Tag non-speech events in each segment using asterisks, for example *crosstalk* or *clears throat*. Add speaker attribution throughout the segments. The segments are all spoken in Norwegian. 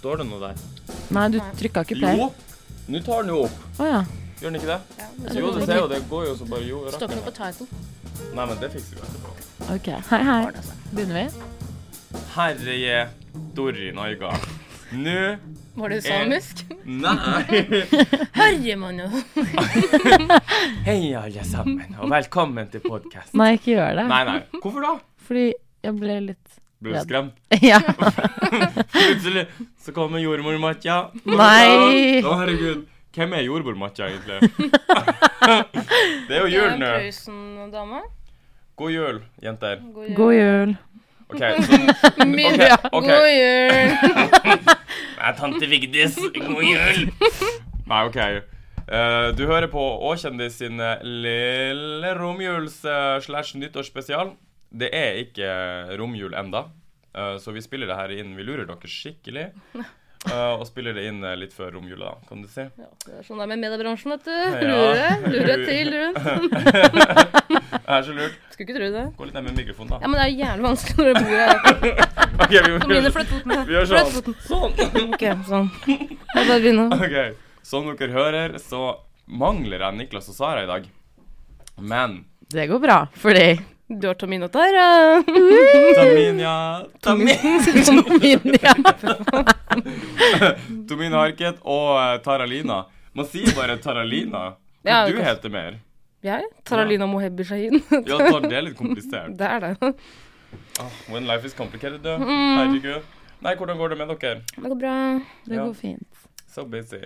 Speaker 1: Står det noe der?
Speaker 2: Nei, du trykka ikke play.
Speaker 1: Jo! Nå tar den jo opp.
Speaker 2: Å ja.
Speaker 1: Gjør den ikke det?
Speaker 3: Ja,
Speaker 1: Jo, du ser jo, det går jo så bare jo.
Speaker 3: Står
Speaker 1: rakk
Speaker 3: ikke
Speaker 1: den
Speaker 3: noe på
Speaker 1: det.
Speaker 3: title.
Speaker 1: Nei, men det fikser vi etterpå.
Speaker 2: OK. Hei, hei.
Speaker 3: Ordner seg.
Speaker 2: Begynner vi?
Speaker 1: Herje Dorri Norga. Nå
Speaker 3: Var det samisk? *laughs*
Speaker 1: Nei!
Speaker 3: Herjemann, ja.
Speaker 1: *laughs* Hei, alle sammen, og velkommen til podkast.
Speaker 2: Nei, ikke gjør det.
Speaker 1: Nei, nei. Hvorfor da?
Speaker 2: Fordi jeg ble litt
Speaker 1: Ble du
Speaker 2: Redd.
Speaker 1: skremt?
Speaker 2: *laughs* Ja.
Speaker 1: Plutselig så kommer jordmormatja.
Speaker 2: Nei.
Speaker 1: Å, herregud. Hvem er jordmormatja,
Speaker 3: *laughs*
Speaker 1: egentlig? Det er jo jul nå.
Speaker 3: Prøysen-dame.
Speaker 1: God jul, jenter.
Speaker 2: God jul.
Speaker 1: OK, så
Speaker 3: Min-
Speaker 1: Ok, ok.
Speaker 3: God jul.
Speaker 1: *laughs* Nei, tante Vigdis, god jul! Nei, OK. Eh, du hører på Åkjendis sin eh, lille romjuls-slash-nyttårsspesial. Det er ikke romjul enda, eh, så vi spiller det her inn. Vi lurer dere skikkelig. eh, og spiller det inn eh, litt før romjula, da, kan du si.
Speaker 3: Ja, det er sånn det er med mediebransjen, vet du.
Speaker 1: Ja.
Speaker 3: Lure, lure til
Speaker 1: *laughs*
Speaker 3: rundt.
Speaker 1: Det er så lurt.
Speaker 3: Skulle ikke tro det.
Speaker 1: Gå litt nærmere mikrofonen,
Speaker 3: Ja,
Speaker 1: da.
Speaker 3: men det er jævlig vanskelig når du bor
Speaker 1: *laughs*
Speaker 3: her.
Speaker 1: Ok, vi, må
Speaker 3: Mine
Speaker 1: gjøre-
Speaker 3: flytt foten.
Speaker 1: vi gjør
Speaker 3: Flytt
Speaker 1: sånn.
Speaker 3: foten.
Speaker 1: Sånn.
Speaker 3: Ok, sånn. Jeg bare begynner.
Speaker 1: Ok, Som dere hører, så mangler jeg Niklas og Sara i dag. Men
Speaker 2: Det går bra, fordi
Speaker 3: Du har Tomino Tara.
Speaker 1: Taminia
Speaker 2: *laughs*
Speaker 1: Tami-
Speaker 2: Dominia
Speaker 1: Tomine Harket og eh, Taralina. Man sier bare Taralina.
Speaker 3: Ja,
Speaker 1: Hva du
Speaker 3: kanskje.
Speaker 1: heter mer?
Speaker 3: Jeg? Taralina Mohebi Shahin. *laughs*
Speaker 1: Ja, Tar, det er litt
Speaker 2: *laughs*
Speaker 1: komplisert. Ah,
Speaker 3: Det er det.
Speaker 1: When life is complicated, du.
Speaker 2: Mm.
Speaker 1: Herregud. Nei, hvordan går det med dere?
Speaker 3: Det går bra.
Speaker 2: Det går *laughs* fint.
Speaker 1: So busy.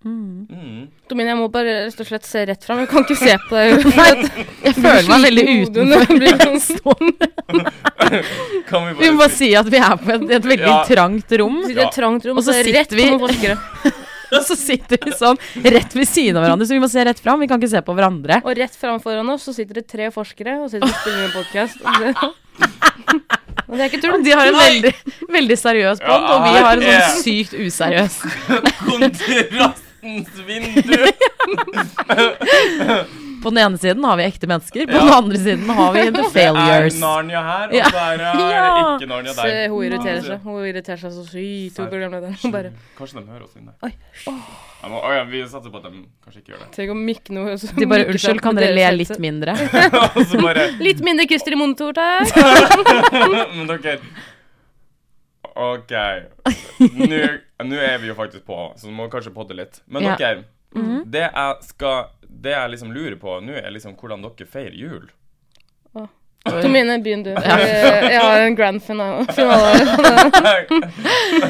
Speaker 2: Mm.
Speaker 1: Mm.
Speaker 3: Tomine, jeg må bare rett og slett se rett fram. Jeg kan ikke se på deg.
Speaker 2: Jeg føler meg
Speaker 3: *laughs*
Speaker 2: veldig utenfor.
Speaker 3: sånn- utenfor.
Speaker 1: Kan vi bare
Speaker 2: Vi må bare si at vi er på et, et veldig
Speaker 1: Ja.
Speaker 2: trangt rom,
Speaker 3: Vi sitter i et trangt rom,
Speaker 2: Og
Speaker 3: og
Speaker 2: så
Speaker 3: så
Speaker 2: sitter
Speaker 3: rett
Speaker 2: vi-
Speaker 3: på noen forskere.
Speaker 2: og så sitter vi sånn rett ved siden av hverandre, så vi må se rett fram. Vi kan ikke se på hverandre.
Speaker 3: Og rett fram foran oss så sitter det tre forskere og sitter og spiller en podkast. *laughs* Og det er ikke tull.
Speaker 2: De har en veldig, veldig seriøs
Speaker 1: Ja,
Speaker 2: pod, og vi har en
Speaker 1: ja.
Speaker 2: sånn sykt useriøs.
Speaker 1: Kontrastens vindu!
Speaker 2: *laughs* På den ene siden har vi ekte mennesker, på
Speaker 1: Ja.
Speaker 2: den andre siden har vi the failures.
Speaker 1: Er Narnia her, og
Speaker 2: Ja.
Speaker 1: der er
Speaker 2: *laughs* Ja.
Speaker 1: ikke Narnia
Speaker 3: Så
Speaker 1: der.
Speaker 3: hun irriterer seg Hun irriterer seg så sykt. Hun programlederen Hun bare
Speaker 1: Kanskje de hører oss inne.
Speaker 3: Oi.
Speaker 1: Ja, men, oi, ja, vi satser på at de kanskje ikke gjør det. *laughs*
Speaker 3: Tenk å mikke noe. så
Speaker 2: De bare
Speaker 3: mikker seg
Speaker 2: Unnskyld,
Speaker 3: opp
Speaker 2: kan
Speaker 3: med
Speaker 2: dere le
Speaker 3: deres
Speaker 2: litt
Speaker 3: headset.
Speaker 2: mindre?
Speaker 1: og så bare *laughs*
Speaker 3: Litt mindre Christer i monitor, takk.
Speaker 1: Men dere OK. Nå nå er vi jo faktisk på, så nå må vi kanskje podde litt. Men
Speaker 2: Ja. Mhm.
Speaker 1: dere, det jeg skal Det jeg liksom lurer på nå, er liksom hvordan dere feirer jul.
Speaker 2: *laughs*
Speaker 3: Tomine, begynn du. Eh, Jeg har en grand finale.
Speaker 2: *laughs*
Speaker 3: finale.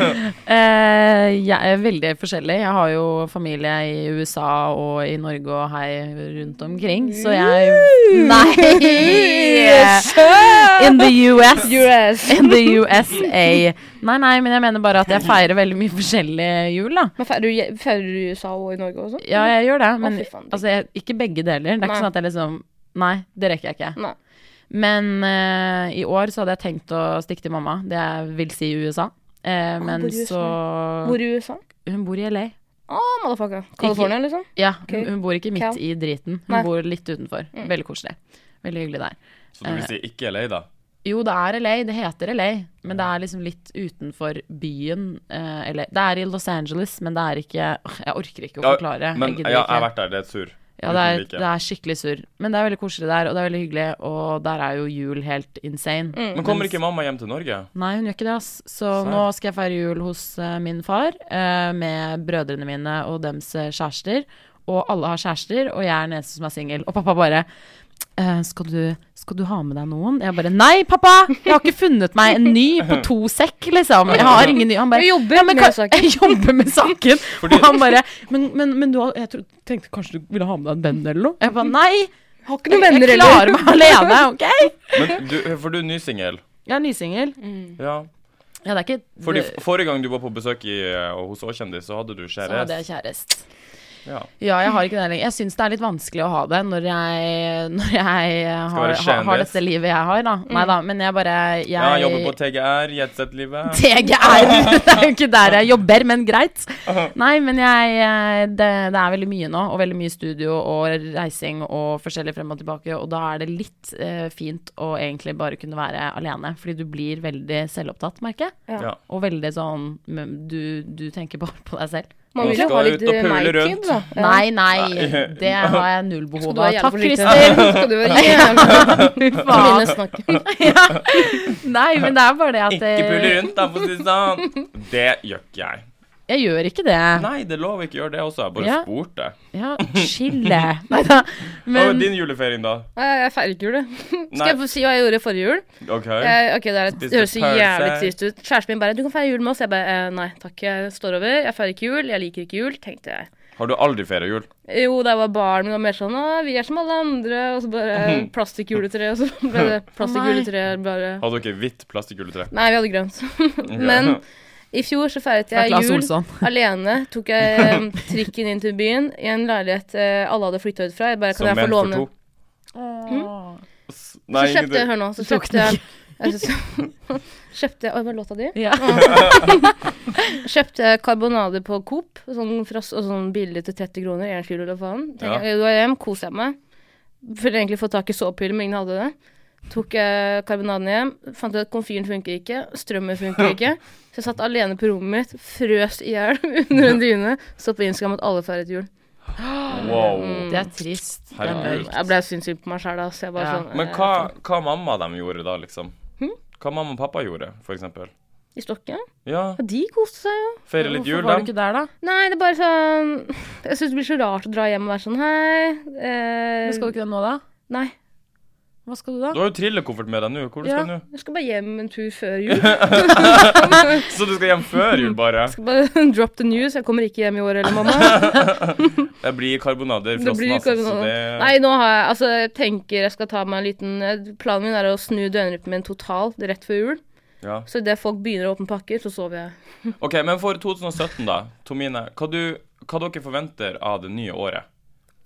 Speaker 2: Eh, jeg er veldig forskjellig. Jeg har jo familie i USA og i Norge og hei rundt omkring, så jeg Nei! In the US.
Speaker 3: US.
Speaker 2: In the USA. Nei, nei, men jeg mener bare at jeg feirer veldig mye forskjellig jul, da.
Speaker 3: Men feirer du- feirer du i USA og i Norge også?
Speaker 2: Ja, jeg gjør det, men
Speaker 3: Mm. fy faen, det-
Speaker 2: altså, jeg, ikke begge deler. Det er
Speaker 3: Nei.
Speaker 2: ikke sånn at jeg liksom Nei, det rekker jeg ikke.
Speaker 3: Nei.
Speaker 2: Men eh, i år så hadde jeg tenkt å stikke til mamma. Det jeg vil si i USA. Eh, men
Speaker 3: bor i USA?
Speaker 2: så
Speaker 3: sånn? Hvor i USA?
Speaker 2: Hun bor i LA.
Speaker 3: Å, Ah, motherfucker. California, liksom?
Speaker 2: Ja,
Speaker 3: Ok.
Speaker 2: hun, hun bor ikke midt
Speaker 3: Cal.
Speaker 2: i driten. Hun
Speaker 3: Nei. Mm.
Speaker 2: bor litt utenfor. Veldig koselig. Veldig hyggelig der.
Speaker 1: Så du vil si ikke er lei, da?
Speaker 2: Jo, det er LA, det heter LA, men det er liksom litt utenfor byen. eh, LA. Det er i Los Angeles, men det er ikke Åh, Jeg orker ikke å
Speaker 1: Ja,
Speaker 2: forklare.
Speaker 1: men ja,
Speaker 2: jeg gidder
Speaker 1: jeg
Speaker 2: ikke.
Speaker 1: har vært der. Det er et surr.
Speaker 2: Ja, det er, det er skikkelig surr. Men det er veldig koselig der, og det er veldig hyggelig, og der er jo jul helt insane.
Speaker 1: Men kommer ikke mamma hjem til Norge?
Speaker 2: Nei, hun gjør ikke det, ass. Så nå skal jeg feire jul hos eh, min far eh, med brødrene mine og dems eh, kjærester. Og alle har kjærester, og jeg er den eneste som er singel. Og pappa bare eh, skal, du, skal du ha med deg noen? Jeg bare Nei, pappa! Jeg har ikke funnet meg en ny på to sekk, liksom. Jeg har ingen ny. Han bare
Speaker 3: Jeg jobber
Speaker 2: «Ja, men
Speaker 3: med
Speaker 2: kan- *laughs*
Speaker 3: saken.»
Speaker 2: Jeg jobber med saken.
Speaker 1: Fordi-
Speaker 2: Og han bare Men, men, men du har, jeg tro- tenkte kanskje du ville ha med deg en venn eller noe? Jeg bare Nei!
Speaker 3: Har ikke
Speaker 2: Jeg,
Speaker 3: noen venner,
Speaker 2: jeg klarer meg alene, OK?
Speaker 1: Men du, for du er nysingel.
Speaker 2: Jeg er nysingel.
Speaker 1: Ja.
Speaker 2: Ja, det er ikke
Speaker 1: Fordi
Speaker 2: det-
Speaker 1: f- Forrige gang du var på besøk i, eh, hos Åkjendis, så hadde du
Speaker 2: Så hadde
Speaker 1: kjæreste.
Speaker 2: jeg kjæreste.
Speaker 1: Ja.
Speaker 2: Ja, jeg har ikke det lenger. Jeg syns det er litt vanskelig å ha det når jeg, når jeg eh, har,
Speaker 1: være
Speaker 2: har, har
Speaker 1: kjendis.
Speaker 2: dette livet jeg har, da. Nei da, men jeg bare jeg,
Speaker 1: Ja, jeg jobber på TGR, Jetset-livet.
Speaker 2: TGR! Det er jo ikke der jeg jobber, men greit. Nei, men jeg eh, det, det er veldig mye nå, og veldig mye studio og reising og forskjellig frem og tilbake, og da er det litt eh, fint å egentlig bare kunne være alene, fordi du blir veldig selvopptatt, merker jeg.
Speaker 1: Ja.
Speaker 2: Og veldig sånn men Du, du tenker bare på deg selv.
Speaker 3: Man
Speaker 1: Man
Speaker 3: vil jo
Speaker 1: skal
Speaker 3: ha
Speaker 1: ut
Speaker 3: litt
Speaker 1: og pule rundt.
Speaker 3: meg-tid, da. Ja.
Speaker 2: Nei, nei,
Speaker 1: Nei.
Speaker 2: det har jeg null
Speaker 3: Skal
Speaker 2: behov
Speaker 3: du være
Speaker 2: av.
Speaker 3: jævla
Speaker 2: Takk,
Speaker 3: forsiktig?
Speaker 2: Christer.
Speaker 3: *laughs* Skal du være jævla
Speaker 1: *laughs*
Speaker 2: Fy faen.
Speaker 3: *laughs* Minnesnakken.
Speaker 2: ja. Nei, men det er bare det *laughs* at eh,
Speaker 1: Ikke pulle rundt, da, for å si det sånn. Det gjør ikke jeg.
Speaker 2: Jeg gjør ikke det.
Speaker 1: Nei, det er lov å ikke gjøre det også. Jeg bare
Speaker 2: Ja.
Speaker 1: spurte. *laughs*
Speaker 2: Ja, chille. Nei da.
Speaker 1: Hva var
Speaker 2: Men
Speaker 1: din julefeiring, da?
Speaker 3: Nei, Jeg feirer ikke jul, jeg. Skal
Speaker 1: Nei.
Speaker 3: jeg få si hva jeg gjorde forrige jul?
Speaker 1: OK.
Speaker 3: Eh, ok, Det, er, det
Speaker 1: Spiste
Speaker 3: høres så
Speaker 1: pølse.
Speaker 3: jævlig trist ut. Kjæresten min bare 'Du kan feire jul med oss.' Jeg bare eh, 'Nei takk, jeg står over. Jeg feirer ikke jul. Jeg liker ikke jul', tenkte jeg.
Speaker 1: Har du aldri feira jul?
Speaker 3: Jo, da jeg var barn, men det var mer sånn 'Å, vi er som alle andre', og så
Speaker 1: *laughs*
Speaker 3: bare plastikkjuletre, og så ble det plastikkjuletre bare
Speaker 1: Hadde dere hvitt plastikkjuletre?
Speaker 3: *laughs* Nei, vi hadde grønt.
Speaker 1: *laughs*
Speaker 3: Men i fjor så feiret jeg
Speaker 2: Lars
Speaker 3: *laughs* jul
Speaker 2: Olsson.
Speaker 3: alene. Tok jeg eh, trikken inn til byen i en leilighet eh, alle hadde flytta ut fra. Jeg bare, kan
Speaker 1: Som
Speaker 3: jeg få
Speaker 1: menn for
Speaker 3: låne
Speaker 1: to?
Speaker 3: Hmm?
Speaker 1: S- Nei,
Speaker 3: så kjøpte jeg,
Speaker 1: ingenting.
Speaker 3: hør nå, så
Speaker 2: Tok
Speaker 3: kjøpte jeg jeg synes- *laughs* Kjøpte jeg Oi, hva er låta di?
Speaker 2: Ja.
Speaker 3: Kjøpte jeg karbonade på Coop, sånn, frost, og sånn billig til 30 kroner, én kilo eller faen. eh, Tenkte
Speaker 1: Ja.
Speaker 3: jeg, jeg går hjem, koser jeg meg. Ville egentlig få tak i såpepiller, men ingen hadde det. Tok jeg karbonaden hjem, fant ut at komfyren funker ikke, strømmen *laughs* funker ikke. Så jeg satt alene på rommet mitt, frøs i hjel *laughs* under en dyne, så på Instagram at alle feiret jul.
Speaker 1: Wow.
Speaker 2: Det er trist. Det er
Speaker 1: Herregud.
Speaker 2: mørkt.
Speaker 3: Jeg ble sinnssyk på meg sjæl, altså. Jeg bare
Speaker 2: Ja.
Speaker 3: sånn
Speaker 1: Men
Speaker 3: eh,
Speaker 1: hva, hva mamma dem gjorde da, liksom? Hva mamma og pappa gjorde, for eksempel?
Speaker 3: I stokken.
Speaker 1: Ja,
Speaker 3: Og de koste seg, jo.
Speaker 1: feire litt jul,
Speaker 2: eh, Hvorfor var
Speaker 1: da.
Speaker 2: du ikke der, da?
Speaker 3: Nei, det er bare sånn Jeg syns det blir så rart å dra hjem og være sånn Hei. Eh,
Speaker 2: Men skal du ikke det nå, da?
Speaker 3: Nei.
Speaker 2: Hva skal du da?
Speaker 1: Du har jo trillekoffert med deg nå. Hvor du
Speaker 2: Ja.
Speaker 1: skal du nå?
Speaker 3: Jeg skal bare hjem en tur før jul.
Speaker 1: Så du skal hjem før jul, bare?
Speaker 3: *laughs* Skal bare drop the news. Jeg kommer ikke hjem i år heller,
Speaker 2: *laughs*
Speaker 3: mamma.
Speaker 1: Det blir karbonader i
Speaker 3: Det
Speaker 1: frossen, altså.
Speaker 3: blir
Speaker 1: Så
Speaker 3: karbonade.
Speaker 1: det
Speaker 3: Nei, nå har jeg Altså, jeg tenker jeg skal ta meg en liten eh, Planen min er å snu døgnrytmen min totalt rett før jul.
Speaker 1: ja.
Speaker 3: Så idet folk begynner å åpne pakker, så sover jeg.
Speaker 1: OK, men for 2017, da, Tomine, hva, du, hva dere forventer av det nye året?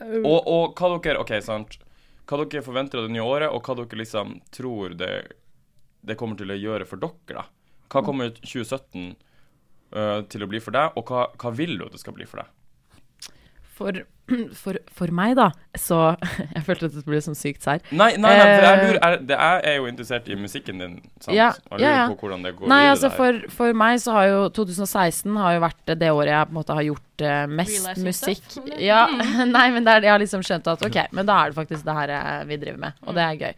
Speaker 1: Og, og hva dere OK, sant. Hva dere forventer av det nye året, og hva dere liksom tror det, det kommer til å gjøre for dere, da? Hva
Speaker 2: Mm.
Speaker 1: kommer 2017 øh, til å bli for deg, og hva, hva vil du at det skal bli for deg?
Speaker 2: For, *clears throat* for, for meg, da, så *laughs* Jeg følte at det ble sånn sykt sær.
Speaker 1: Nei, nei, nei for jeg,
Speaker 2: Eh.
Speaker 1: lurer, jeg, det, jeg er jo interessert i musikken din, sant?
Speaker 2: Ja,
Speaker 1: og lurer
Speaker 2: ja, ja.
Speaker 1: på hvordan det går
Speaker 2: Nei,
Speaker 1: videre
Speaker 2: altså
Speaker 1: der.
Speaker 2: for, for meg så har jo 2016 har jo vært det året jeg på en måte har gjort eh, mest
Speaker 3: Realizing
Speaker 2: musikk.
Speaker 3: stuff.
Speaker 2: Ja, *laughs* nei, men det er, jeg har liksom skjønt at ok, men da er det faktisk det her eh, vi driver med, og det er gøy.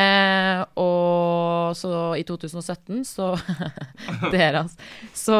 Speaker 2: Eh, og så i 2017 så *laughs* Dere, altså. Så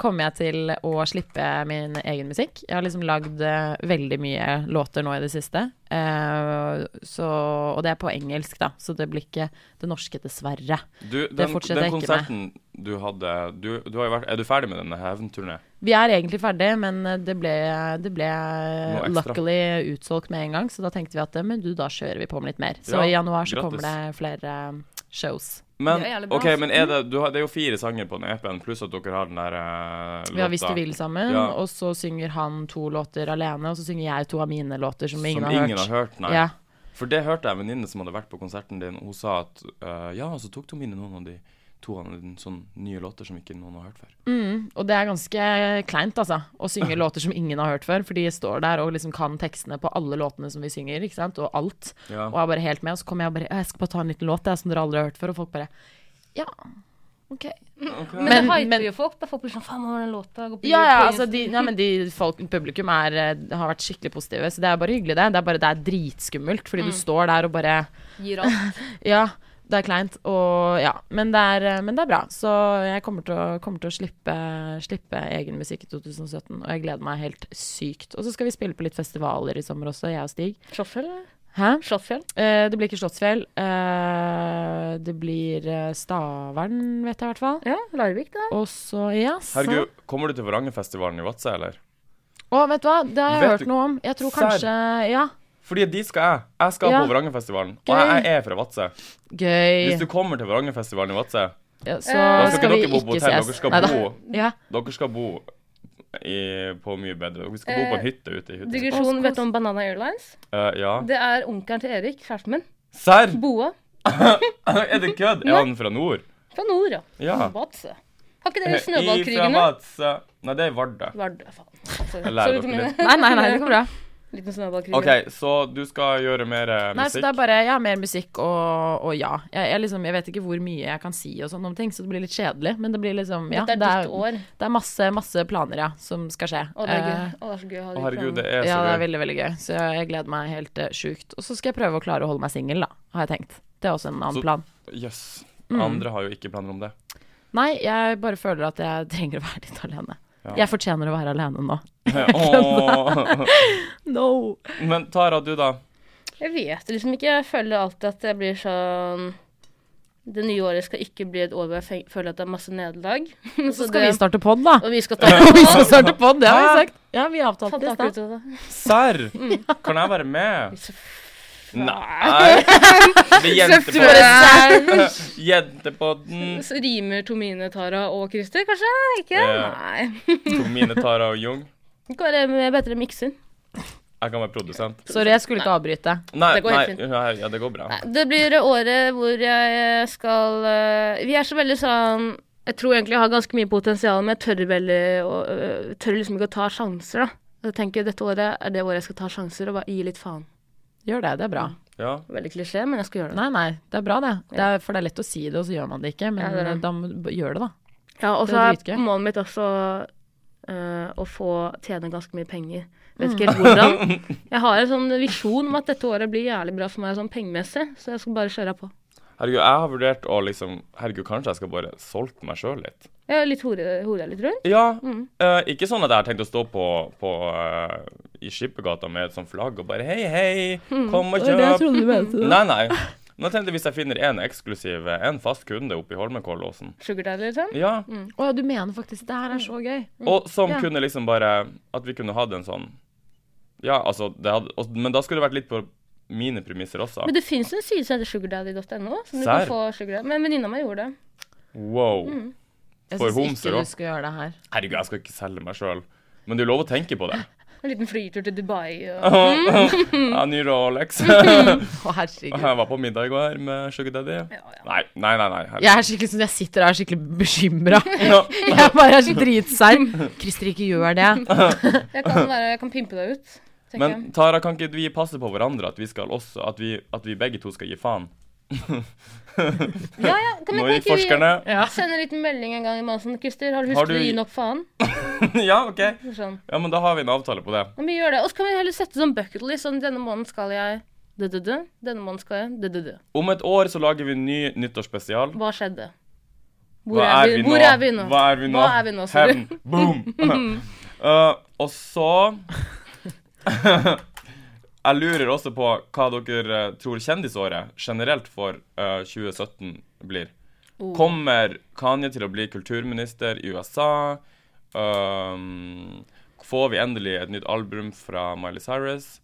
Speaker 2: kommer jeg til å slippe min egen musikk. Jeg har liksom lagd eh, veldig mye låter nå i det siste. Eh, så, og det er på engelsk, da, så det blir ikke det norske, dessverre.
Speaker 1: Du, den,
Speaker 2: fortsetter
Speaker 1: den
Speaker 2: jeg ikke
Speaker 1: konserten du hadde du, du har jo vært, Er du ferdig med denne hevnturné?
Speaker 2: Vi er egentlig ferdig, men eh, det ble, det ble
Speaker 1: Noe ekstra.
Speaker 2: luckily utsolgt med en gang, så da tenkte vi at eh, men du, da kjører vi på med litt mer. Så
Speaker 1: Ja,
Speaker 2: i januar så
Speaker 1: grattis.
Speaker 2: kommer det flere eh, shows.
Speaker 1: Men,
Speaker 3: Det er jævlig bra,
Speaker 1: ok,
Speaker 3: altså.
Speaker 1: men er det, du har, det er jo fire sanger på den EP-en, pluss at dere har den der eh,
Speaker 2: Vi har Hvis
Speaker 1: låta
Speaker 2: du vil sammen,
Speaker 1: Ja.
Speaker 2: og så synger han to låter alene, og så synger jeg to av mine låter som,
Speaker 1: som
Speaker 2: ingen har hørt.
Speaker 1: nei.
Speaker 2: Ja.
Speaker 1: For det hørte jeg en venninne som hadde vært på konserten din, hun sa at eh, ja, så tok Tomine noen av de to av de sånn nye låter som ikke noen har hørt før.
Speaker 2: Mm, og det er ganske kleint, altså, å
Speaker 1: *laughs*
Speaker 2: synge låter som ingen har hørt før, for de står der og liksom kan tekstene på alle låtene som vi synger, ikke sant, og alt.
Speaker 1: Ja.
Speaker 2: Og er bare helt med, og så kommer jeg og bare Jeg skal bare ta en liten låt, jeg, som dere aldri har hørt før, og folk bare Ja, OK.
Speaker 3: Men,
Speaker 2: Men-
Speaker 3: det hyper
Speaker 2: men-
Speaker 3: jo folk. da. Folk blir sånn Faen, hvordan den låta går på
Speaker 2: Ja,
Speaker 3: jul
Speaker 2: ja,
Speaker 3: på
Speaker 2: altså de, ja, men de folk, publikum er, eh, har vært skikkelig positive, så det er bare hyggelig, det. Det er bare det er dritskummelt, fordi
Speaker 3: Mm.
Speaker 2: du står der og bare
Speaker 3: Insta, gir alt.
Speaker 2: Ja, det er kleint, og ja. Men det er, eh, men det er bra. Så jeg kommer til å, kommer til å slippe, slippe egen musikk i 2017, og jeg gleder meg helt sykt. Og så skal vi spille på litt festivaler i sommer også, jeg og Stig.
Speaker 3: Slåttfjell, eller?
Speaker 2: Hæ?
Speaker 3: Slåttfjell?
Speaker 2: Eh, det blir ikke Slottsfjell. Eh, det blir eh, Stavern, vet jeg i hvert fall.
Speaker 3: Ja, Larvik, da.
Speaker 2: Og så, ja, så
Speaker 1: Herregud, kommer du til Varangerfestivalen i Vadsø, eller?
Speaker 2: Å, vet du hva, det har jeg
Speaker 1: Vet
Speaker 2: hørt
Speaker 1: du-
Speaker 2: noe om. Jeg tror
Speaker 1: Serr?
Speaker 2: kanskje Ja,
Speaker 1: Fordi dit skal jeg. Jeg skal
Speaker 2: Ja.
Speaker 1: på Varangerfestivalen. Og
Speaker 2: Gøy.
Speaker 1: jeg, jeg er fra Vadsø.
Speaker 2: gøy.
Speaker 1: Hvis du kommer til Varangerfestivalen i Vadsø,
Speaker 2: ja, så
Speaker 3: Da
Speaker 1: skal
Speaker 2: skal vi
Speaker 1: ikke dere bo på
Speaker 2: ikke
Speaker 1: hotell,
Speaker 2: ses.
Speaker 1: dere skal
Speaker 2: Neida.
Speaker 1: bo-
Speaker 2: Ja.
Speaker 1: dere skal bo i, på mye bedre. Vi skal bo på en
Speaker 3: Eh,
Speaker 1: hytte ute i hytta.
Speaker 3: Digresjon, vet du om Banana Airlines?
Speaker 1: Eh, ja.
Speaker 3: Det er onkelen til Erik, kjæresten min.
Speaker 1: Serr!
Speaker 3: Boa.
Speaker 1: *laughs* Er det kødd? Er han fra nord?
Speaker 3: Fra nord, ja.
Speaker 1: Ja.
Speaker 3: Vadsø. Har
Speaker 1: Eh,
Speaker 3: ikke dere
Speaker 1: Ifra
Speaker 3: snøballkrigene?
Speaker 1: Vadsø. Nei, det er Vardø.
Speaker 3: Vardø, faen. Altså,
Speaker 1: Jeg lærer
Speaker 3: sorry,
Speaker 1: dere litt.
Speaker 3: Tomine.
Speaker 2: Nei, nei, nei, det går bra.
Speaker 3: *laughs* Liten snøballkrig.
Speaker 1: OK, så du skal gjøre mer eh,
Speaker 2: Nei, så
Speaker 1: musikk?
Speaker 2: det er bare Jeg har mer musikk og, og ja. Jeg, jeg, liksom, jeg vet ikke hvor mye jeg kan si og sånn om ting, så det blir litt kjedelig. Men det blir liksom Ja,
Speaker 3: Dette er
Speaker 2: det, er,
Speaker 3: ditt år.
Speaker 2: det er masse, masse planer, ja, som skal skje.
Speaker 3: Å, det er gøy.
Speaker 2: Eh,
Speaker 3: Å, det er så gøy å ha sånn-
Speaker 1: Å,
Speaker 3: de
Speaker 1: herregud, det
Speaker 3: planene.
Speaker 1: er
Speaker 2: sånn- ja,
Speaker 1: så
Speaker 2: det er
Speaker 1: gøy.
Speaker 2: veldig, veldig gøy. Så jeg, jeg gleder meg helt uh, sjukt. Og så skal jeg prøve å klare å holde meg singel, da. Har jeg tenkt. Det er også en
Speaker 1: Så-
Speaker 2: annen plan.
Speaker 1: Jøss.
Speaker 2: Mm.
Speaker 1: Andre har jo ikke planer
Speaker 2: *laughs*
Speaker 1: om det.
Speaker 2: Nei, jeg bare føler at jeg *laughs* trenger å være litt alene.
Speaker 1: Ja.
Speaker 2: Jeg fortjener å være alene nå.
Speaker 1: Åh.
Speaker 2: No!
Speaker 1: Men Tara, du da?
Speaker 3: Jeg vet liksom ikke. Jeg føler alltid at jeg blir sånn Det nye året skal ikke bli et år hvor jeg fe- føler at det er masse nederlag. *laughs*
Speaker 2: Så skal vi starte pod, da.
Speaker 3: Og vi
Speaker 1: *laughs*
Speaker 3: skal ta
Speaker 2: *laughs* Vi skal starte pod, det har vi
Speaker 1: Hæ?
Speaker 2: sagt. Ja, vi avtalte det i
Speaker 3: tak
Speaker 2: stad.
Speaker 3: ut av det.
Speaker 1: Serr?
Speaker 2: Mm.
Speaker 1: Kan jeg være med? Nei. Det
Speaker 2: *laughs*
Speaker 1: er *laughs*
Speaker 3: Tror
Speaker 1: jentepodden.
Speaker 3: jeg det er-
Speaker 1: Jentepodden.
Speaker 3: Så rimer Tomine, Tara og Christer, kanskje? Ikke?
Speaker 1: Ja.
Speaker 3: Nei. *laughs*
Speaker 1: Mine Tara og Jung.
Speaker 3: Det kan være med bedre mikser.
Speaker 1: Jeg kan være produsent.
Speaker 2: Sorry, jeg skulle ikke avbryte.
Speaker 1: Nei,
Speaker 3: Det går helt
Speaker 1: nei, nei ja, det går bra.
Speaker 3: Nei, Det blir året hvor jeg skal eh, Vi er så veldig sånn Jeg tror egentlig jeg har ganske mye potensial, men jeg tør, veldig, å- øh, tør liksom ikke å ta sjanser, da. Jeg tenker dette året er det året jeg skal ta sjanser og bare gi litt faen.
Speaker 2: Gjør det, det er bra.
Speaker 1: Ja.
Speaker 3: Veldig klisjé, men jeg skal gjøre det.
Speaker 2: Nei, nei, det er bra det. det er, for det er lett å si det, og så gjør man det ikke. Men
Speaker 3: Ja, det er det.
Speaker 2: da må du b- gjør det, da.
Speaker 3: Ja, og
Speaker 2: Det
Speaker 3: så
Speaker 2: er
Speaker 3: er
Speaker 2: dritgøy.
Speaker 3: målet mitt også eh, å få tjene ganske mye penger. Vet ikke helt *laughs* hvordan. Jeg har en sånn visjon om at dette året blir jævlig bra for meg sånn pengemessig, så jeg skal bare kjøre på.
Speaker 1: Herregud, jeg har vurdert å liksom Herregud, kanskje jeg skal bare solgt meg sjøl litt?
Speaker 3: Jeg er litt hore, hore litt rundt.
Speaker 1: Ja.
Speaker 3: Mm.
Speaker 1: eh, ikke sånn at jeg har tenkt å stå på, på eh, i Skippergata med et sånt flagg og bare Hei, hei,
Speaker 3: Mm.
Speaker 1: kom og kjøp.
Speaker 2: trodde du mente.
Speaker 1: Nei, nei. Nå tenkte jeg hvis jeg finner en eksklusiv, eh, en fast kunde oppe i Holmenkollåsen.
Speaker 3: Sugar daddy, liksom.
Speaker 1: Ja.
Speaker 2: Å ja, du mener faktisk det her er så gøy.
Speaker 3: Mm.
Speaker 1: Og som
Speaker 2: Ja.
Speaker 1: kunne liksom bare At vi kunne hatt en sånn Ja, altså det hadde, og, Men da skulle det vært litt på mine premisser også.
Speaker 3: Men det fins en side som heter sugardaddy.no. som du
Speaker 1: Serr?
Speaker 3: kan få sugar daddy. Men venninna mi gjorde det. Mm.
Speaker 1: Wow.
Speaker 2: Jeg
Speaker 1: For
Speaker 2: syns
Speaker 1: homser
Speaker 2: ikke
Speaker 1: også.
Speaker 2: du skal gjøre det her.
Speaker 1: Herregud, jeg skal ikke selge meg sjøl. Men det er lov å tenke på det.
Speaker 3: En liten flytur til Dubai. Og... Mm.
Speaker 1: Ja, ny
Speaker 3: *laughs*
Speaker 1: Rolex. jeg
Speaker 2: Å herregud.
Speaker 1: var på middag i går med Sugar Daddy.
Speaker 3: Ja, ja.
Speaker 1: Nei, nei, nei. nei herregud.
Speaker 2: Jeg er skikkelig sånn, jeg sitter og er skikkelig bekymra.
Speaker 1: Ja.
Speaker 2: *laughs* Jeg bare er så dritsær. Christer, ikke gjør det.
Speaker 1: *laughs*
Speaker 3: Jeg, kan være, jeg kan pimpe deg ut. tenker jeg.
Speaker 1: Men Tara, kan ikke vi passe på hverandre? At vi skal også At vi, at vi begge to skal gi faen? *laughs*
Speaker 3: Ja, ja. Kan,
Speaker 1: Nå gikk
Speaker 3: vi- kan ikke
Speaker 1: forskerne.
Speaker 2: Ja.
Speaker 3: vi sende en liten melding en gang i måneden? Christer, har du
Speaker 1: Har
Speaker 3: husket
Speaker 1: du-
Speaker 3: å gi nok faen?
Speaker 1: ja, OK.
Speaker 3: Sånn.
Speaker 1: Ja, men da har vi en avtale på det.
Speaker 3: Ja, men vi gjør det. Og så kan vi heller sette sånn bucket list. Sånn, denne måneden skal jeg dødødø. Denne måneden skal jeg dødødø.
Speaker 1: Om et år så lager vi en ny nyttårsspesial.
Speaker 3: Hva skjedde? Hvor,
Speaker 1: Hva
Speaker 3: er, vi, hvor er vi nå?
Speaker 1: Hva er vi nå?
Speaker 3: Hva er vi nå, sa du?
Speaker 1: Hevn.
Speaker 3: *laughs*
Speaker 1: Boom! uh, og så *laughs* Jeg lurer også på hva dere eh, tror kjendisåret generelt for eh, 2017 blir.
Speaker 3: Oh.
Speaker 1: Kommer Kanye til å bli kulturminister i USA? Um, får vi endelig et nytt album fra Miley Cyrus?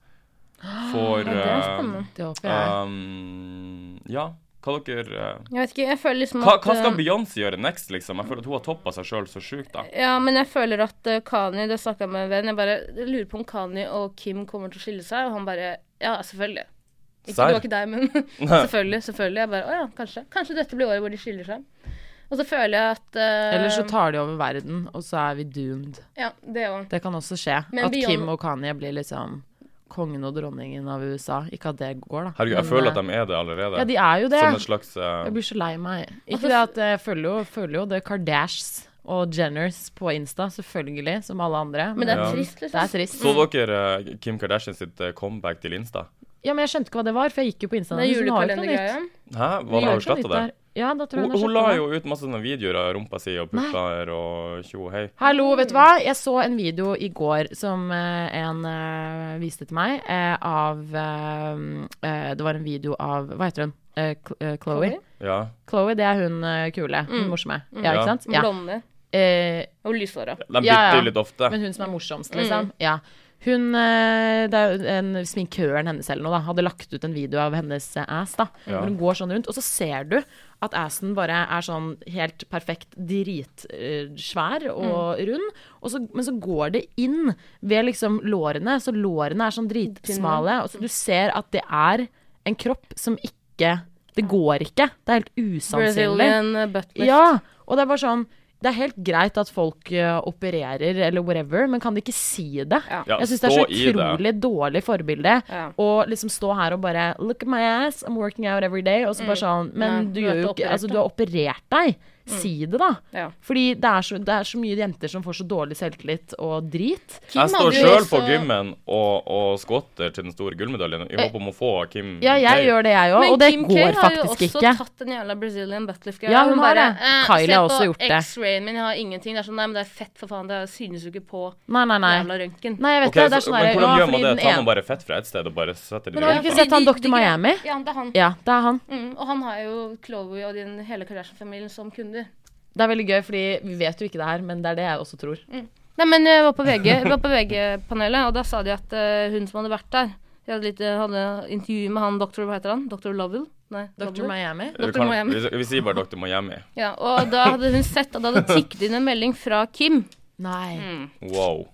Speaker 1: Får
Speaker 3: Ja, det er
Speaker 1: eh,
Speaker 3: spennende.
Speaker 2: Det håper jeg.
Speaker 1: um, Ja, hva dere eh,
Speaker 3: Jeg vet ikke, jeg føler liksom
Speaker 1: hva,
Speaker 3: at
Speaker 1: hva skal
Speaker 3: eh,
Speaker 1: Beyoncé gjøre next, liksom? Jeg føler at hun har toppa seg sjøl så sjukt, da.
Speaker 3: Ja, men jeg føler at eh, Kanye Det snakka jeg med en venn. Jeg bare jeg lurer på om Kanye og Kim kommer til å skille seg, og han bare Ja, selvfølgelig. Ikke, det
Speaker 1: Serr?
Speaker 3: var ikke deg, men *laughs* selvfølgelig. selvfølgelig. Jeg bare Å ja, kanskje. Kanskje dette blir året hvor de skiller seg. Og så føler jeg at eh,
Speaker 2: Eller så tar de over verden, og så er vi doomed.
Speaker 3: Ja, det òg.
Speaker 2: Det kan også skje.
Speaker 3: Men
Speaker 2: At
Speaker 3: Beyonce-
Speaker 2: Kim og Kanye blir liksom kongen og dronningen av USA. Ikke at det går, da. eh,
Speaker 1: Herregud, jeg føler at de er det allerede.
Speaker 2: Ja, de er jo det.
Speaker 1: Som en slags eh,
Speaker 2: Jeg blir så lei meg. Ikke det at eh, jeg følger jo, følger jo det Kardashs og Jenners på Insta, selvfølgelig, som alle andre.
Speaker 3: Men det er
Speaker 1: Ja.
Speaker 3: trist,
Speaker 2: det er
Speaker 3: liksom.
Speaker 2: trist.
Speaker 1: Så dere eh, Kim Kardashian sitt eh, comeback til Insta?
Speaker 2: Ja, men jeg skjønte ikke hva det var, for jeg gikk jo på Insta.
Speaker 3: Det er
Speaker 2: hennes, hun har jo ikke noe nytt.
Speaker 3: julekalendergreia.
Speaker 1: Hæ? Hva, har
Speaker 2: Hun gjør
Speaker 1: hun
Speaker 2: ikke noe
Speaker 1: sletta
Speaker 2: nytt
Speaker 1: det?
Speaker 2: der. Ja, da tror jeg
Speaker 1: Hun,
Speaker 2: hun har
Speaker 1: hun la
Speaker 2: slettet det.
Speaker 1: jo ut masse sånne videoer av rumpa si og pupper og tjo og hei.
Speaker 2: Hallo, vet du hva? Jeg så en video i går som eh, en eh, viste til meg, eh, av eh, eh, Det var en video av Hva heter hun? Eh, Cl- eh, Chloé.
Speaker 3: Chloe?
Speaker 1: Ja.
Speaker 2: Chloé, det er hun eh, kule. Hun morsomme. Ja,
Speaker 1: Ja.
Speaker 2: ikke sant? Ja.
Speaker 3: Blonde
Speaker 2: Eh,
Speaker 3: og lyshåra.
Speaker 1: De bytter
Speaker 2: Ja, ja.
Speaker 1: jo litt ofte.
Speaker 2: Men hun som er morsomst, liksom. Ja. Hun, eh, det er jo en sminkøren hennes eller noe, da, hadde lagt ut en video av hennes eh, ass. da.
Speaker 1: Ja.
Speaker 2: Hvor hun går sånn rundt, og så ser du at assen bare er sånn helt perfekt dritsvær og rund. Og så, men så går det inn ved liksom lårene, så lårene er sånn dritsmale. Og så du ser at det er en kropp som ikke Det går ikke. Det er helt usannsynlig.
Speaker 3: Brazilian eh, buttlift.
Speaker 2: Ja, og det er bare sånn Det er helt greit at folk eh, opererer eller whatever, men kan de ikke si det?
Speaker 3: Ja.
Speaker 1: Ja,
Speaker 2: jeg syns det er så
Speaker 1: stå i det.
Speaker 2: utrolig dårlig forbilde
Speaker 3: Ja.
Speaker 2: å liksom stå her og bare Look at my ass, I'm working out every day. Og så bare sånn Men
Speaker 3: Mm. Nei,
Speaker 2: du,
Speaker 3: du har
Speaker 2: gjør jo ikke
Speaker 3: ikke operert Mm.
Speaker 2: Altså, du har operert deg. Si det, da.
Speaker 3: Ja.
Speaker 2: Fordi det er, så, det er så mye jenter som får så dårlig selvtillit og drit.
Speaker 1: Jeg står
Speaker 3: hadde jo
Speaker 1: sjøl
Speaker 3: også-
Speaker 1: på gymmen og, og skvatter til den store gullmedaljen i håp om å få Kim
Speaker 2: Eh, Ja, jeg gjør det, jeg òg.
Speaker 3: Men
Speaker 2: Og det
Speaker 3: Kim K
Speaker 2: går
Speaker 3: har jo
Speaker 2: faktisk
Speaker 3: også
Speaker 2: ikke.
Speaker 3: tatt den jævla Brazilian buttlift-greia.
Speaker 2: Ja, hun har
Speaker 3: bare,
Speaker 2: det.
Speaker 3: eh,
Speaker 2: Kylie
Speaker 3: se
Speaker 2: har også
Speaker 3: på
Speaker 2: gjort det.
Speaker 3: X-rayen min, jeg har ingenting. Det er sånn, nei, men det er fett, for faen. Det synes jo ikke på
Speaker 2: Nei, nei, nei.
Speaker 3: jævla røntgen.
Speaker 2: Nei, jeg vet
Speaker 1: Ok,
Speaker 2: det. Det
Speaker 1: så,
Speaker 2: er sånn
Speaker 1: men
Speaker 2: der,
Speaker 1: hvordan
Speaker 2: ja,
Speaker 1: gjør man
Speaker 2: fordi
Speaker 1: det?
Speaker 2: den
Speaker 1: Tar
Speaker 2: ene-
Speaker 1: man bare fett fra et sted og bare setter det
Speaker 3: Men har
Speaker 1: i
Speaker 2: du ikke
Speaker 1: rumpa?
Speaker 2: sett han
Speaker 3: De-
Speaker 2: Dr.
Speaker 3: de-
Speaker 2: Miami?
Speaker 3: Ja, det er han.
Speaker 2: Ja, det er han.
Speaker 3: Mm, og han har jo Chloé og din hele Kardashian-familien som kunder.
Speaker 2: Det er veldig gøy, fordi vi vet jo ikke det her, men det er det jeg også tror.
Speaker 3: Nei, men eh, jeg var på VG, jeg var på VG-panelet, og da sa de at eh, hun som hadde vært der Jeg hadde, litt, jeg hadde intervju med han doktor, hva heter han? Doktor Lovell? Nei,
Speaker 2: Dr.
Speaker 3: Lovell.
Speaker 2: Miami?
Speaker 1: Vi,
Speaker 3: Dr.
Speaker 1: kan,
Speaker 3: Miami.
Speaker 1: vi, vi sier bare Dr. Miami.
Speaker 3: Ja, og da hadde hun sett at det hadde tikket inn en melding fra Kim.
Speaker 2: Nei.
Speaker 3: Mm.
Speaker 1: Wow.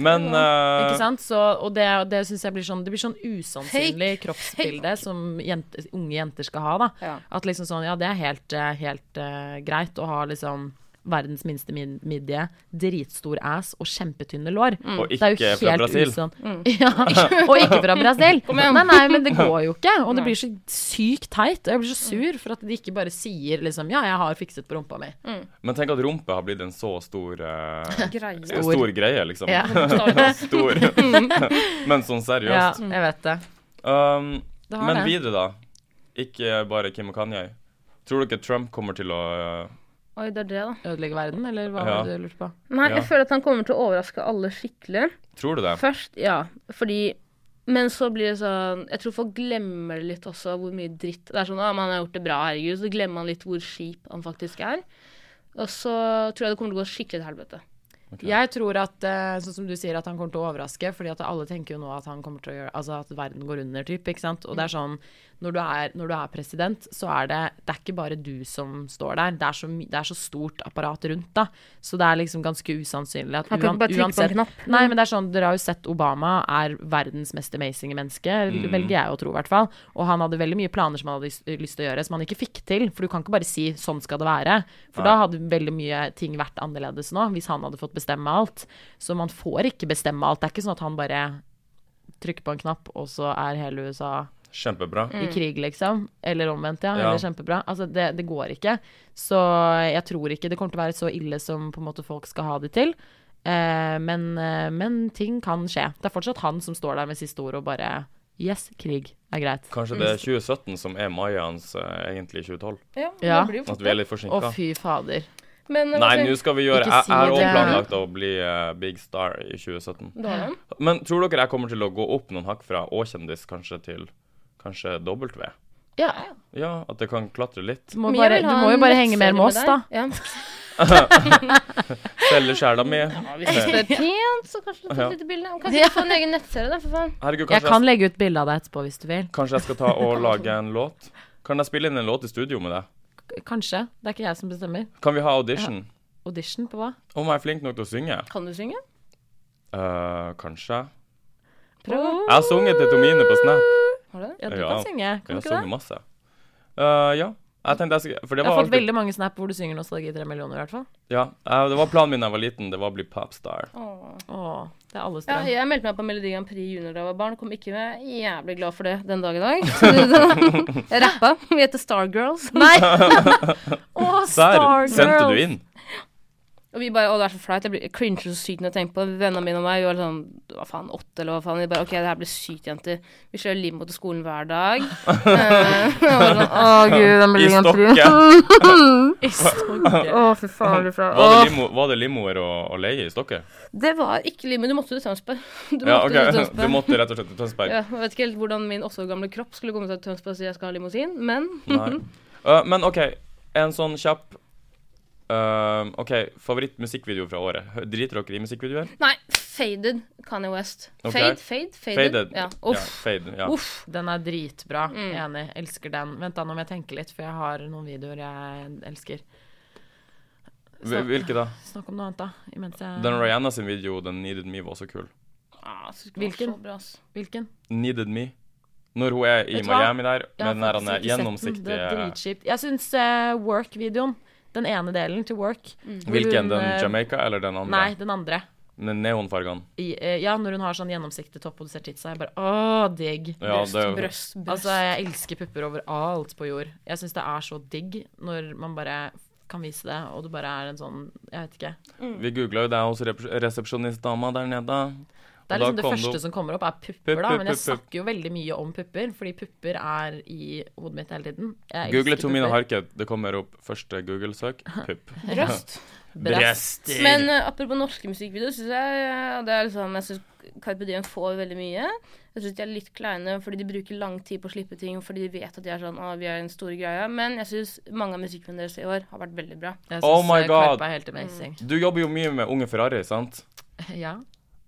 Speaker 1: Men eh,
Speaker 2: Ikke sant? Så, og det, det syns jeg blir sånn Det blir sånn usannsynlig kroppsbilde som jente, unge jenter skal ha, da.
Speaker 3: Ja.
Speaker 2: At liksom sånn Ja, det er helt, eh, helt eh, greit å ha liksom verdens minste min midje, dritstor ass og kjempetynne lår.
Speaker 3: Mm.
Speaker 1: Og
Speaker 2: Mm. Det er jo
Speaker 1: ikke fra
Speaker 2: helt
Speaker 1: Brasil.
Speaker 2: usann- *laughs* Ja, og ikke fra Brasil.
Speaker 3: igjen.
Speaker 2: Nei, nei,
Speaker 1: *laughs*
Speaker 2: men det går jo ikke. Og det blir så sykt teit. Og jeg blir så sur for at de ikke bare sier liksom Ja, jeg har fikset på rumpa mi.
Speaker 1: Men tenk at rumpe har blitt en så stor eh,
Speaker 3: Greie.
Speaker 2: *laughs* Stor.
Speaker 1: Stor greie, liksom.
Speaker 2: Ja,
Speaker 1: *laughs*
Speaker 2: *laughs* Mm.
Speaker 1: Stor. *laughs* Men sånn
Speaker 2: ja
Speaker 1: seriøst.
Speaker 2: Mm. jeg vet det.
Speaker 1: Um,
Speaker 2: Det har
Speaker 1: men
Speaker 2: det.
Speaker 1: videre, da. Ikke bare Kim og Kanye. Tror dere Trump kommer til å eh,
Speaker 3: Oi, det er det, da.
Speaker 2: Ødelegge verden, eller hva
Speaker 1: Ja.
Speaker 2: var det du lurte på?
Speaker 3: Nei,
Speaker 1: Ja.
Speaker 3: jeg føler at han kommer til å overraske alle skikkelig.
Speaker 1: Tror du det?
Speaker 3: Først, ja, fordi Men så blir det sånn Jeg tror folk glemmer det litt også, hvor mye dritt Det er sånn 'Å, men han har gjort det bra, herregud.' Så glemmer man litt hvor skip han faktisk er. Og så tror jeg det kommer til å gå skikkelig til helvete.
Speaker 2: Jeg tror at eh, sånn som du sier at han kommer til å overraske, fordi at alle tenker jo nå at han kommer til å gjøre Altså at verden går under, typ, ikke sant. Og det er sånn når du er, når du er president, så er det Det er ikke bare du som står der. Det er så, my- det er så stort apparat rundt, da. Så det er liksom ganske usannsynlig at
Speaker 3: Han kan ikke
Speaker 2: uan-
Speaker 3: bare trykke på en
Speaker 2: uansett
Speaker 3: knapp.
Speaker 2: Nei, men det er sånn, dere har jo sett Obama er verdens mest amazing menneske, velger jeg å tro i hvert fall. Og han hadde veldig mye planer som han hadde lyst- lyst til å gjøre, som han ikke fikk til. For du kan ikke bare si 'sånn skal det være', for da hadde veldig mye ting vært annerledes nå, hvis han hadde fått bestemme alt. Så man får ikke bestemme alt. Det er ikke sånn at han bare trykker på en knapp, og så er hele USA
Speaker 1: Kjempebra.
Speaker 2: i krig, liksom. Eller omvendt, ja.
Speaker 1: Ja.
Speaker 2: Eller kjempebra. Altså, det, det går ikke. Så jeg tror ikke det kommer til å være så ille som på en måte folk skal ha det til. Eh, men, eh, men ting kan skje. Det er fortsatt han som står der med siste ord og bare Yes, krig er greit.
Speaker 1: Kanskje det
Speaker 2: Mm.
Speaker 1: er 2017 som er Mayans uh, egentlig 2012?
Speaker 2: Ja.
Speaker 1: At vi er litt
Speaker 2: Å,
Speaker 1: forsinka?
Speaker 2: fy fader.
Speaker 3: Men eh,
Speaker 1: Nei, nå skal vi gjøre
Speaker 2: Ikke
Speaker 1: Jeg jeg
Speaker 2: si
Speaker 1: har også
Speaker 2: det.
Speaker 1: planlagt å bli eh, big star i 2017. Men tror dere jeg kommer til å gå opp noen hakk fra Å-kjendis kanskje til kanskje W?
Speaker 2: Ja,
Speaker 1: Ja, at det kan klatre litt.
Speaker 2: du må, bare, du må jo bare henge mer med oss, da.
Speaker 3: *laughs* Ja.
Speaker 1: Selge sjela mi.
Speaker 3: Hvis det er pent, så kanskje du
Speaker 1: Ja.
Speaker 3: tar et lite bilde. Kanskje du får en egen nettserie, da, for faen.
Speaker 1: Herregud,
Speaker 2: Jeg
Speaker 1: kanskje
Speaker 2: kan
Speaker 1: jeg,
Speaker 2: legge ut bilde av deg etterpå hvis du vil.
Speaker 1: kanskje jeg skal ta og lage en låt? Kan jeg spille inn en låt i studio med deg?
Speaker 2: K- Kanskje. Det er ikke jeg som bestemmer.
Speaker 1: Kan vi ha audition?
Speaker 2: Audition på hva?
Speaker 1: Om jeg er flink nok til å synge?
Speaker 3: Kan du synge?
Speaker 1: Eh, kanskje.
Speaker 3: Prøv, da.
Speaker 1: Jeg har sunget til Tomine på Snap.
Speaker 3: Har du det?
Speaker 2: Ja, du
Speaker 1: Ja.
Speaker 2: kan synge.
Speaker 1: Jeg
Speaker 2: Kan
Speaker 1: har
Speaker 2: du ikke
Speaker 1: sunget
Speaker 2: det?
Speaker 1: masse. Eh, ja. Jeg tenkte jeg skulle For det
Speaker 2: Jeg har
Speaker 1: var
Speaker 2: fått
Speaker 1: alltid
Speaker 2: veldig mange snap hvor du synger Nostalgi 3 millioner, i hvert fall.
Speaker 1: Ja, eh, det var planen min da jeg var liten. Det var å bli popstar.
Speaker 3: Åh.
Speaker 2: Åh, det er alles
Speaker 3: Ja,
Speaker 2: drøm.
Speaker 3: jeg meldte meg på Melodi Grand Prix junior da jeg var barn. Kom ikke med. Jævlig glad for det den dag *laughs* i dag. *laughs* Jeg rappa. Vi heter Stargirls.
Speaker 2: Nei! Å,
Speaker 1: Der
Speaker 2: Stargirls!
Speaker 1: sendte du inn.
Speaker 3: *laughs* Og vi bare Å, det er så flaut. Jeg blir jeg cringer så sykt når jeg tenker på det. Vennene mine og meg vi var sånn Hva faen, åtte, eller hva faen. Vi bare OK, det her blir sykt, jenter. Vi kjører limo til skolen hver
Speaker 1: *laughs*
Speaker 3: dag. Eh, *laughs* og bare sånn, Å, gud, den
Speaker 1: I
Speaker 3: Melodi Grand Prix.
Speaker 1: Stokke.
Speaker 3: Å, fy faen, det blir flaut.
Speaker 1: Var det,
Speaker 3: Åh.
Speaker 1: limo, var det limoer å, å leie i Stokke?
Speaker 3: Det var ikke limo. Du måtte til Tønsberg. *laughs* Du
Speaker 1: Ja, ok.
Speaker 3: måtte til
Speaker 1: *laughs* Du
Speaker 3: Tønsberg.
Speaker 1: måtte rett og slett til Tønsberg.
Speaker 3: Ja, jeg vet ikke helt hvordan min åtte år gamle kropp skulle komme seg til Tønsberg og si jeg skal ha limousin, men
Speaker 1: Nei. Eh, men OK, en sånn kjapp eh, OK, favorittmusikkvideo fra året. Hø- Driter dere i musikkvideoer?
Speaker 3: Nei, Faded Kanye West.
Speaker 1: Ok.
Speaker 3: Fade, fade, faded.
Speaker 1: Faded.
Speaker 3: Ja.
Speaker 1: Ja,
Speaker 3: Uff.
Speaker 1: faded, ja.
Speaker 3: Uff.
Speaker 2: Den er dritbra. Enig. Elsker den. Vent da, nå må jeg tenke litt, for jeg har noen videoer jeg elsker.
Speaker 1: Hvil- Hvilke da?
Speaker 2: Snakk om noe annet, da. Imens jeg
Speaker 1: Den Rihanna sin video, den Needed Me, var også kul.
Speaker 3: Ah, så
Speaker 2: Hvilken?
Speaker 3: Så bra, ass.
Speaker 2: Hvilken?
Speaker 1: Needed Me. Når hun er i
Speaker 2: Vet du hva?
Speaker 1: Miami der,
Speaker 2: Jeg
Speaker 1: med
Speaker 2: har
Speaker 1: den der
Speaker 2: faktisk
Speaker 1: han er eh,
Speaker 2: ikke sett den. Det er
Speaker 1: gjennomsiktige
Speaker 2: dritskipt. Jeg syns eh, Work-videoen, den ene delen til Work hvor
Speaker 1: Hvilken?
Speaker 2: hun,
Speaker 1: Den
Speaker 2: eh,
Speaker 1: Jamaica eller den andre?
Speaker 2: Nei, den andre.
Speaker 1: Den neonfargene.
Speaker 2: I, eh, ja, når hun har sånn gjennomsiktig topp og du ser titsa. Jeg bare Å, digg.
Speaker 1: Ja,
Speaker 3: brøst,
Speaker 1: det er jo-
Speaker 3: brøst, brøst.
Speaker 2: *laughs* Altså, jeg elsker pupper overalt på jord. Jeg syns det er så digg når man bare kan vise det, og du bare er en sånn Jeg vet ikke.
Speaker 1: Mm. Vi googla jo deg hos rep- resepsjonistdama der nede.
Speaker 2: Det
Speaker 1: Og da
Speaker 2: er liksom det
Speaker 1: kom
Speaker 2: første
Speaker 1: det opp-
Speaker 2: som kommer opp, er pupper,
Speaker 1: Pupp,
Speaker 2: da.
Speaker 1: pupp,
Speaker 2: Men jeg
Speaker 1: pupp, pupp.
Speaker 2: snakker jo veldig mye om pupper, fordi pupper er i hodet mitt hele tiden. Jeg
Speaker 1: Google
Speaker 2: elsker
Speaker 1: Tomine
Speaker 2: pupper.
Speaker 1: Harket. Det kommer opp første
Speaker 2: *laughs*
Speaker 1: Google-søk. Pupp.
Speaker 3: Brøst.
Speaker 2: Brast.
Speaker 1: Brester.
Speaker 3: Men eh, apropos norske musikkvideoer, syns jeg eh, det er liksom, Jeg synes Carpe Diem får veldig mye. Jeg syns de er litt kleine fordi de bruker lang tid på å slippe ting, fordi de vet at de er sånn Å, vi er en stor greie. Men jeg syns mange av musikkvideoene deres i år har vært veldig bra.
Speaker 2: Jeg
Speaker 1: Oh
Speaker 2: syns
Speaker 1: my God.
Speaker 2: Karpe er helt amazing.
Speaker 1: Du jobber jo mye med Unge Ferrari, sant?
Speaker 2: Ja.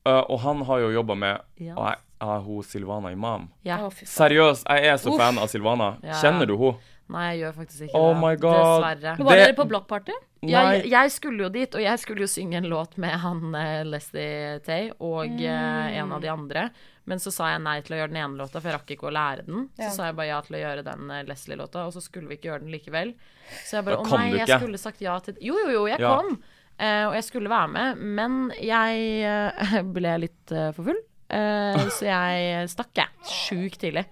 Speaker 1: Uh, og han har jo jobba med
Speaker 2: Ja.
Speaker 1: Og jeg jeg har hun Silvana Imam.
Speaker 2: ja.
Speaker 3: Å, fy faen.
Speaker 1: Seriøst, jeg er så
Speaker 3: Uff.
Speaker 1: fan av Silvana.
Speaker 2: Ja.
Speaker 1: Kjenner du hun?
Speaker 2: Nei, jeg gjør faktisk ikke
Speaker 1: Oh
Speaker 2: det.
Speaker 1: my god.
Speaker 2: Dessverre.
Speaker 3: Men Var
Speaker 1: Det-
Speaker 3: dere på blokkparty?
Speaker 2: Jeg, jeg skulle jo dit, og jeg skulle jo synge en låt med han eh, Leslie Tay og
Speaker 3: Mm.
Speaker 2: eh, en av de andre. Men så sa jeg nei til å gjøre den ene låta, for jeg rakk ikke å lære den. Så
Speaker 3: Ja.
Speaker 2: sa jeg bare ja til å gjøre den eh, Leslie-låta, og så skulle vi ikke gjøre den likevel. Så jeg bare
Speaker 1: Da
Speaker 2: å
Speaker 1: kom
Speaker 2: nei,
Speaker 1: du
Speaker 2: jeg
Speaker 1: ikke.
Speaker 2: skulle sagt ja til Jo, jo, jo, jeg
Speaker 1: Ja.
Speaker 2: kom. eh, og jeg skulle være med, men jeg eh, *laughs* ble litt eh, for full. eh, så jeg stakk, jeg. Sjukt tidlig.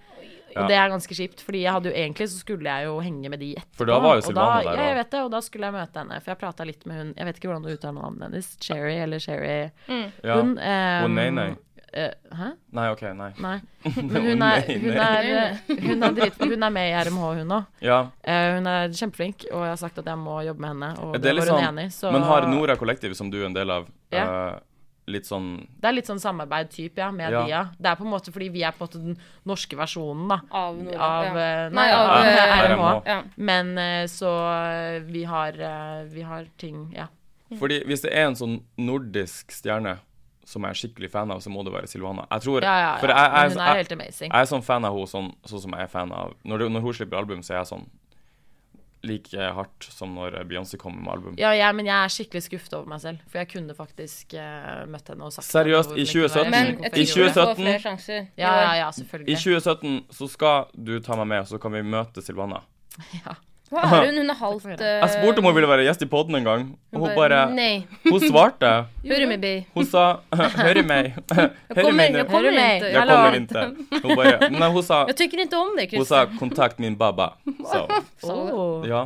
Speaker 1: Ja.
Speaker 2: Og det er ganske kjipt, fordi jeg hadde jo egentlig så skulle jeg jo henge med de etterpå.
Speaker 1: For da var jo
Speaker 2: og
Speaker 1: Silvana der
Speaker 2: da- Ja, jeg
Speaker 1: også.
Speaker 2: vet det, og da skulle jeg møte henne, for jeg prata litt med hun Jeg vet ikke hvordan du uttaler navnet hennes. Cherry eller Sherry.
Speaker 1: Ja.
Speaker 2: Hun eh,
Speaker 1: Å, nei, nei.
Speaker 2: eh, hæ?
Speaker 1: Nei, OK, nei.
Speaker 2: Nei.
Speaker 1: *laughs*
Speaker 2: *laughs* Men hun er,
Speaker 1: nei,
Speaker 2: hun
Speaker 1: nei.
Speaker 2: er, eh, hun er, drit, hun er med i RMH, hun òg.
Speaker 1: *laughs* Ja.
Speaker 2: hun er kjempeflink, og jeg har sagt at jeg må jobbe med henne, og
Speaker 1: Det
Speaker 2: det
Speaker 1: er litt
Speaker 2: var hun
Speaker 1: sånn
Speaker 2: enig i. Så
Speaker 1: Men har Nora kollektiv, som du er en del av,
Speaker 2: Ja.
Speaker 1: eh, litt sånn
Speaker 2: det er litt sånn samarbeid-type, ja, med
Speaker 1: Ja.
Speaker 2: de, ja. Det er på en måte fordi vi er på en måte den norske versjonen, da.
Speaker 3: Av Nora.
Speaker 2: Av,
Speaker 3: ja.
Speaker 2: eh,
Speaker 3: Nei,
Speaker 2: nei, *laughs*
Speaker 3: av
Speaker 1: av,
Speaker 3: eh,
Speaker 1: RMH.
Speaker 3: Ja.
Speaker 2: Men eh, så eh, vi har, eh, vi har ting Ja.
Speaker 1: Fordi hvis det er en sånn nordisk stjerne som jeg er skikkelig fan av, så må det være Silvana. Jeg tror
Speaker 2: Ja, ja, ja.
Speaker 1: For jeg, jeg,
Speaker 2: Men hun er
Speaker 1: jeg,
Speaker 2: helt amazing.
Speaker 1: jeg er sånn fan av henne sånn, sånn som jeg er fan av når, det, når hun slipper album, så er jeg sånn like hardt som når Beyoncé kommer med album.
Speaker 2: Ja, jeg, men jeg er skikkelig skuffet over meg selv, for jeg kunne faktisk eh, møtt henne og sagt
Speaker 1: Seriøst,
Speaker 2: at
Speaker 1: i
Speaker 2: hvorfor ikke det var
Speaker 1: 2017?
Speaker 2: jeg,
Speaker 3: Men
Speaker 2: hvorfor
Speaker 3: jeg
Speaker 1: I
Speaker 2: ikke gjorde det?
Speaker 3: tipper du får
Speaker 1: 2017.
Speaker 3: flere sjanser. i
Speaker 2: Ja, ja,
Speaker 3: år.
Speaker 2: ja,
Speaker 1: I
Speaker 2: selvfølgelig.
Speaker 1: 2017 så skal du ta meg med, og så kan vi møte Silvana.
Speaker 2: Ja.
Speaker 3: Hva er hun? Hun er halvt eh,
Speaker 2: Takk for
Speaker 1: Jeg spurte om hun ville være gjest i poden en gang, og hun bare
Speaker 3: Nei.
Speaker 1: Hun svarte.
Speaker 2: *laughs*
Speaker 3: Hør med baby.
Speaker 1: Hun sa 'Hører meg'. Hører
Speaker 3: Kom
Speaker 1: meg
Speaker 3: inn,
Speaker 1: nå.
Speaker 3: jeg kommer
Speaker 2: Hører meg.
Speaker 3: ikke.
Speaker 1: Jeg
Speaker 2: Hallo.
Speaker 1: kommer ikke. Hun bare Nei, hun sa
Speaker 3: Jeg tykker ikke om det,
Speaker 1: Hun sa
Speaker 3: Kristian.
Speaker 1: 'kontakt min baba'. Så
Speaker 2: Åh.
Speaker 1: ja.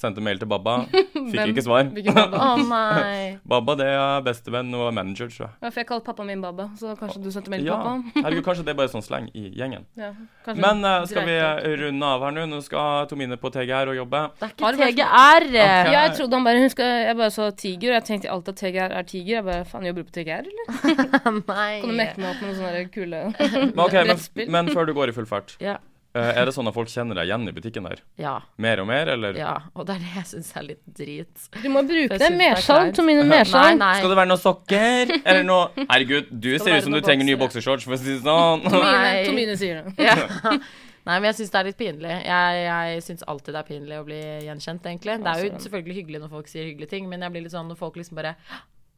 Speaker 1: Sendte mail til baba. Fikk ikke svar.
Speaker 3: Hvilken
Speaker 2: *laughs*
Speaker 3: baba?
Speaker 2: Å, nei.
Speaker 1: Baba det er bestevenn og manager, tror jeg.
Speaker 3: Ja, for jeg kalte pappaen min baba, så kanskje du sendte melding til
Speaker 1: Ja.
Speaker 3: pappa?
Speaker 1: Herregud, kanskje det er bare sånn slang i gjengen.
Speaker 3: Ja,
Speaker 2: Altså,
Speaker 3: kanskje
Speaker 1: Men eh, skal
Speaker 3: dreit
Speaker 1: vi
Speaker 3: ut.
Speaker 1: eh, runde av her nå? Nå skal Tomine på TGR og jobbe.
Speaker 2: Det er ikke
Speaker 3: Har det vært-
Speaker 2: TGR.
Speaker 1: Ok.
Speaker 3: Ja, jeg trodde han bare huska Jeg bare så tiger. Jeg tenkte alltid at TGR er tiger. Jeg bare faen, jobber du på TGR, eller? Kan du
Speaker 2: Nei.
Speaker 3: mekke meg opp med noen sånne der
Speaker 1: *laughs*
Speaker 3: kule
Speaker 1: Men, ok, men,
Speaker 3: Brettspill.
Speaker 1: men før du går i full fart,
Speaker 2: Ja.
Speaker 1: eh, er det sånn at folk kjenner deg igjen i butikken der?
Speaker 2: Ja,
Speaker 1: Mer og mer, eller?
Speaker 2: ja. Og det er det jeg syns er litt drit.
Speaker 3: Du må
Speaker 2: Jeg
Speaker 3: bruke det.
Speaker 2: synes det er
Speaker 3: sånn. Mersalg.
Speaker 2: kleint.
Speaker 3: Tomine
Speaker 2: Nei,
Speaker 3: Mersalg.
Speaker 2: nei.
Speaker 1: Skal det være noen sokker? Eller noe Herregud, du
Speaker 2: Skal det
Speaker 1: ser
Speaker 2: være
Speaker 1: ut som du
Speaker 2: noen
Speaker 1: trenger nye
Speaker 2: boksere?
Speaker 1: bokseshorts, for å si det
Speaker 2: *laughs*
Speaker 1: sånn.
Speaker 3: Tomine,
Speaker 2: Nei.
Speaker 3: Tomine sier det.
Speaker 1: *laughs*
Speaker 2: Ja. Nei, men jeg syns det er litt pinlig. Jeg, jeg syns alltid det er pinlig å bli gjenkjent, egentlig. Det er jo
Speaker 1: Altså,
Speaker 2: selvfølgelig hyggelig når folk sier hyggelige ting, men jeg blir litt sånn når folk liksom bare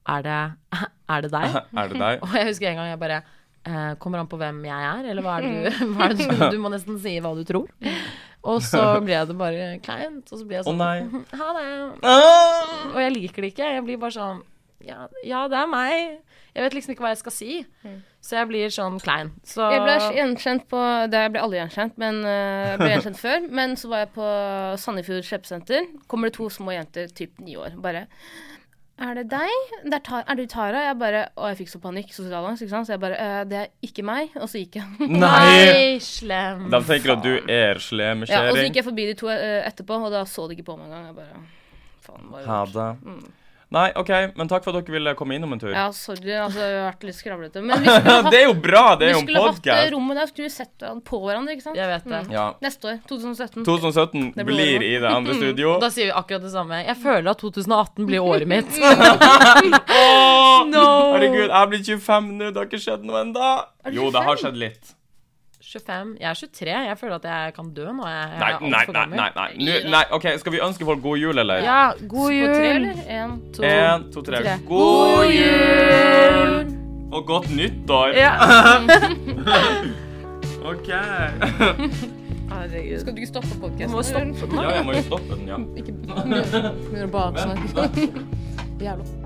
Speaker 2: Er det, *laughs* er det deg?
Speaker 1: Er det deg?
Speaker 2: Og jeg husker en gang jeg bare eh, Kommer an på hvem jeg er, eller hva er
Speaker 1: Mm.
Speaker 2: det du hva er
Speaker 1: *laughs*
Speaker 2: det du, du må nesten si hva du tror. Og så ble det bare kleint, og så ble jeg
Speaker 1: Å
Speaker 2: sånn
Speaker 1: nei. *laughs*
Speaker 2: Ha det.
Speaker 1: Ah!
Speaker 2: Og jeg liker det ikke. Jeg blir bare sånn ja, ja, det er meg. Jeg vet liksom ikke hva jeg skal si.
Speaker 1: Mm.
Speaker 2: Så jeg blir sånn klein. Så
Speaker 3: Jeg ble gjenkjent på Det ble aldri gjenkjent, men øh, jeg ble gjenkjent før. *laughs* Men så var jeg på Sandefjord kjøpesenter. Kommer det to små jenter, typ ni år, bare Er det deg? Det er, ta er du Tara? Jeg bare Å, jeg fikk så panikk, sosialangst, ikke sant. Så jeg bare «Øh, Det er ikke meg. Og så gikk jeg. *laughs*
Speaker 1: Nei!
Speaker 2: slem.
Speaker 1: De tenker at du er slem,
Speaker 3: Ja, og så
Speaker 1: kjæring.
Speaker 3: eh, gikk jeg forbi de to øh, etterpå, og da så de ikke på meg engang. Jeg bare Faen, hva har jeg
Speaker 1: Ha
Speaker 3: gjort?
Speaker 1: det. Nei, OK, men takk for at dere ville komme innom en tur.
Speaker 3: Ja, sorry, altså, jeg har vært litt skravlete. Men vi skulle hatt,
Speaker 1: *laughs* det er jo bra! *laughs* Det er
Speaker 3: vi
Speaker 1: jo en
Speaker 3: skulle hatt eh, det
Speaker 1: podkast.
Speaker 3: rommet der, skulle vi sett hverandre på hverandre, ikke sant?
Speaker 2: Jeg vet det.
Speaker 1: Ja.
Speaker 3: Neste år, 2017.
Speaker 1: 2017
Speaker 3: Det blir
Speaker 1: blir i det andre studio.
Speaker 2: Da sier vi akkurat det samme. Jeg føler at 2018 blir året mitt.
Speaker 1: *laughs* Åh,
Speaker 2: *laughs* No.
Speaker 1: Herregud, jeg blir 25 nå. Det har ikke skjedd noe ennå.
Speaker 3: Er du
Speaker 1: Jo, det har
Speaker 3: 25?
Speaker 1: skjedd litt.
Speaker 2: 25. Jeg er 23. Jeg føler at jeg kan dø nå. Jeg, jeg
Speaker 1: Nei,
Speaker 2: er alt
Speaker 1: nei,
Speaker 2: for
Speaker 1: nei.
Speaker 2: gammel.
Speaker 1: nei, nei. Nå, nei OK, skal vi ønske folk god jul, eller?
Speaker 2: Ja, god
Speaker 3: På tre,
Speaker 2: jul.
Speaker 3: eller? En.
Speaker 2: To.
Speaker 1: En, to, tre.
Speaker 2: Tre.
Speaker 1: God jul!
Speaker 2: jul!
Speaker 1: Og godt nyttår!
Speaker 2: Ja.
Speaker 1: *laughs* OK.
Speaker 2: Herregud.
Speaker 3: Skal du ikke stoppe podkasten?
Speaker 2: Du må stoppe den.
Speaker 1: Ja, jeg må jo stoppe den, ja.
Speaker 3: Ikke begynne å bake
Speaker 1: Men,
Speaker 3: snart.
Speaker 1: nei.
Speaker 3: sånn Jævla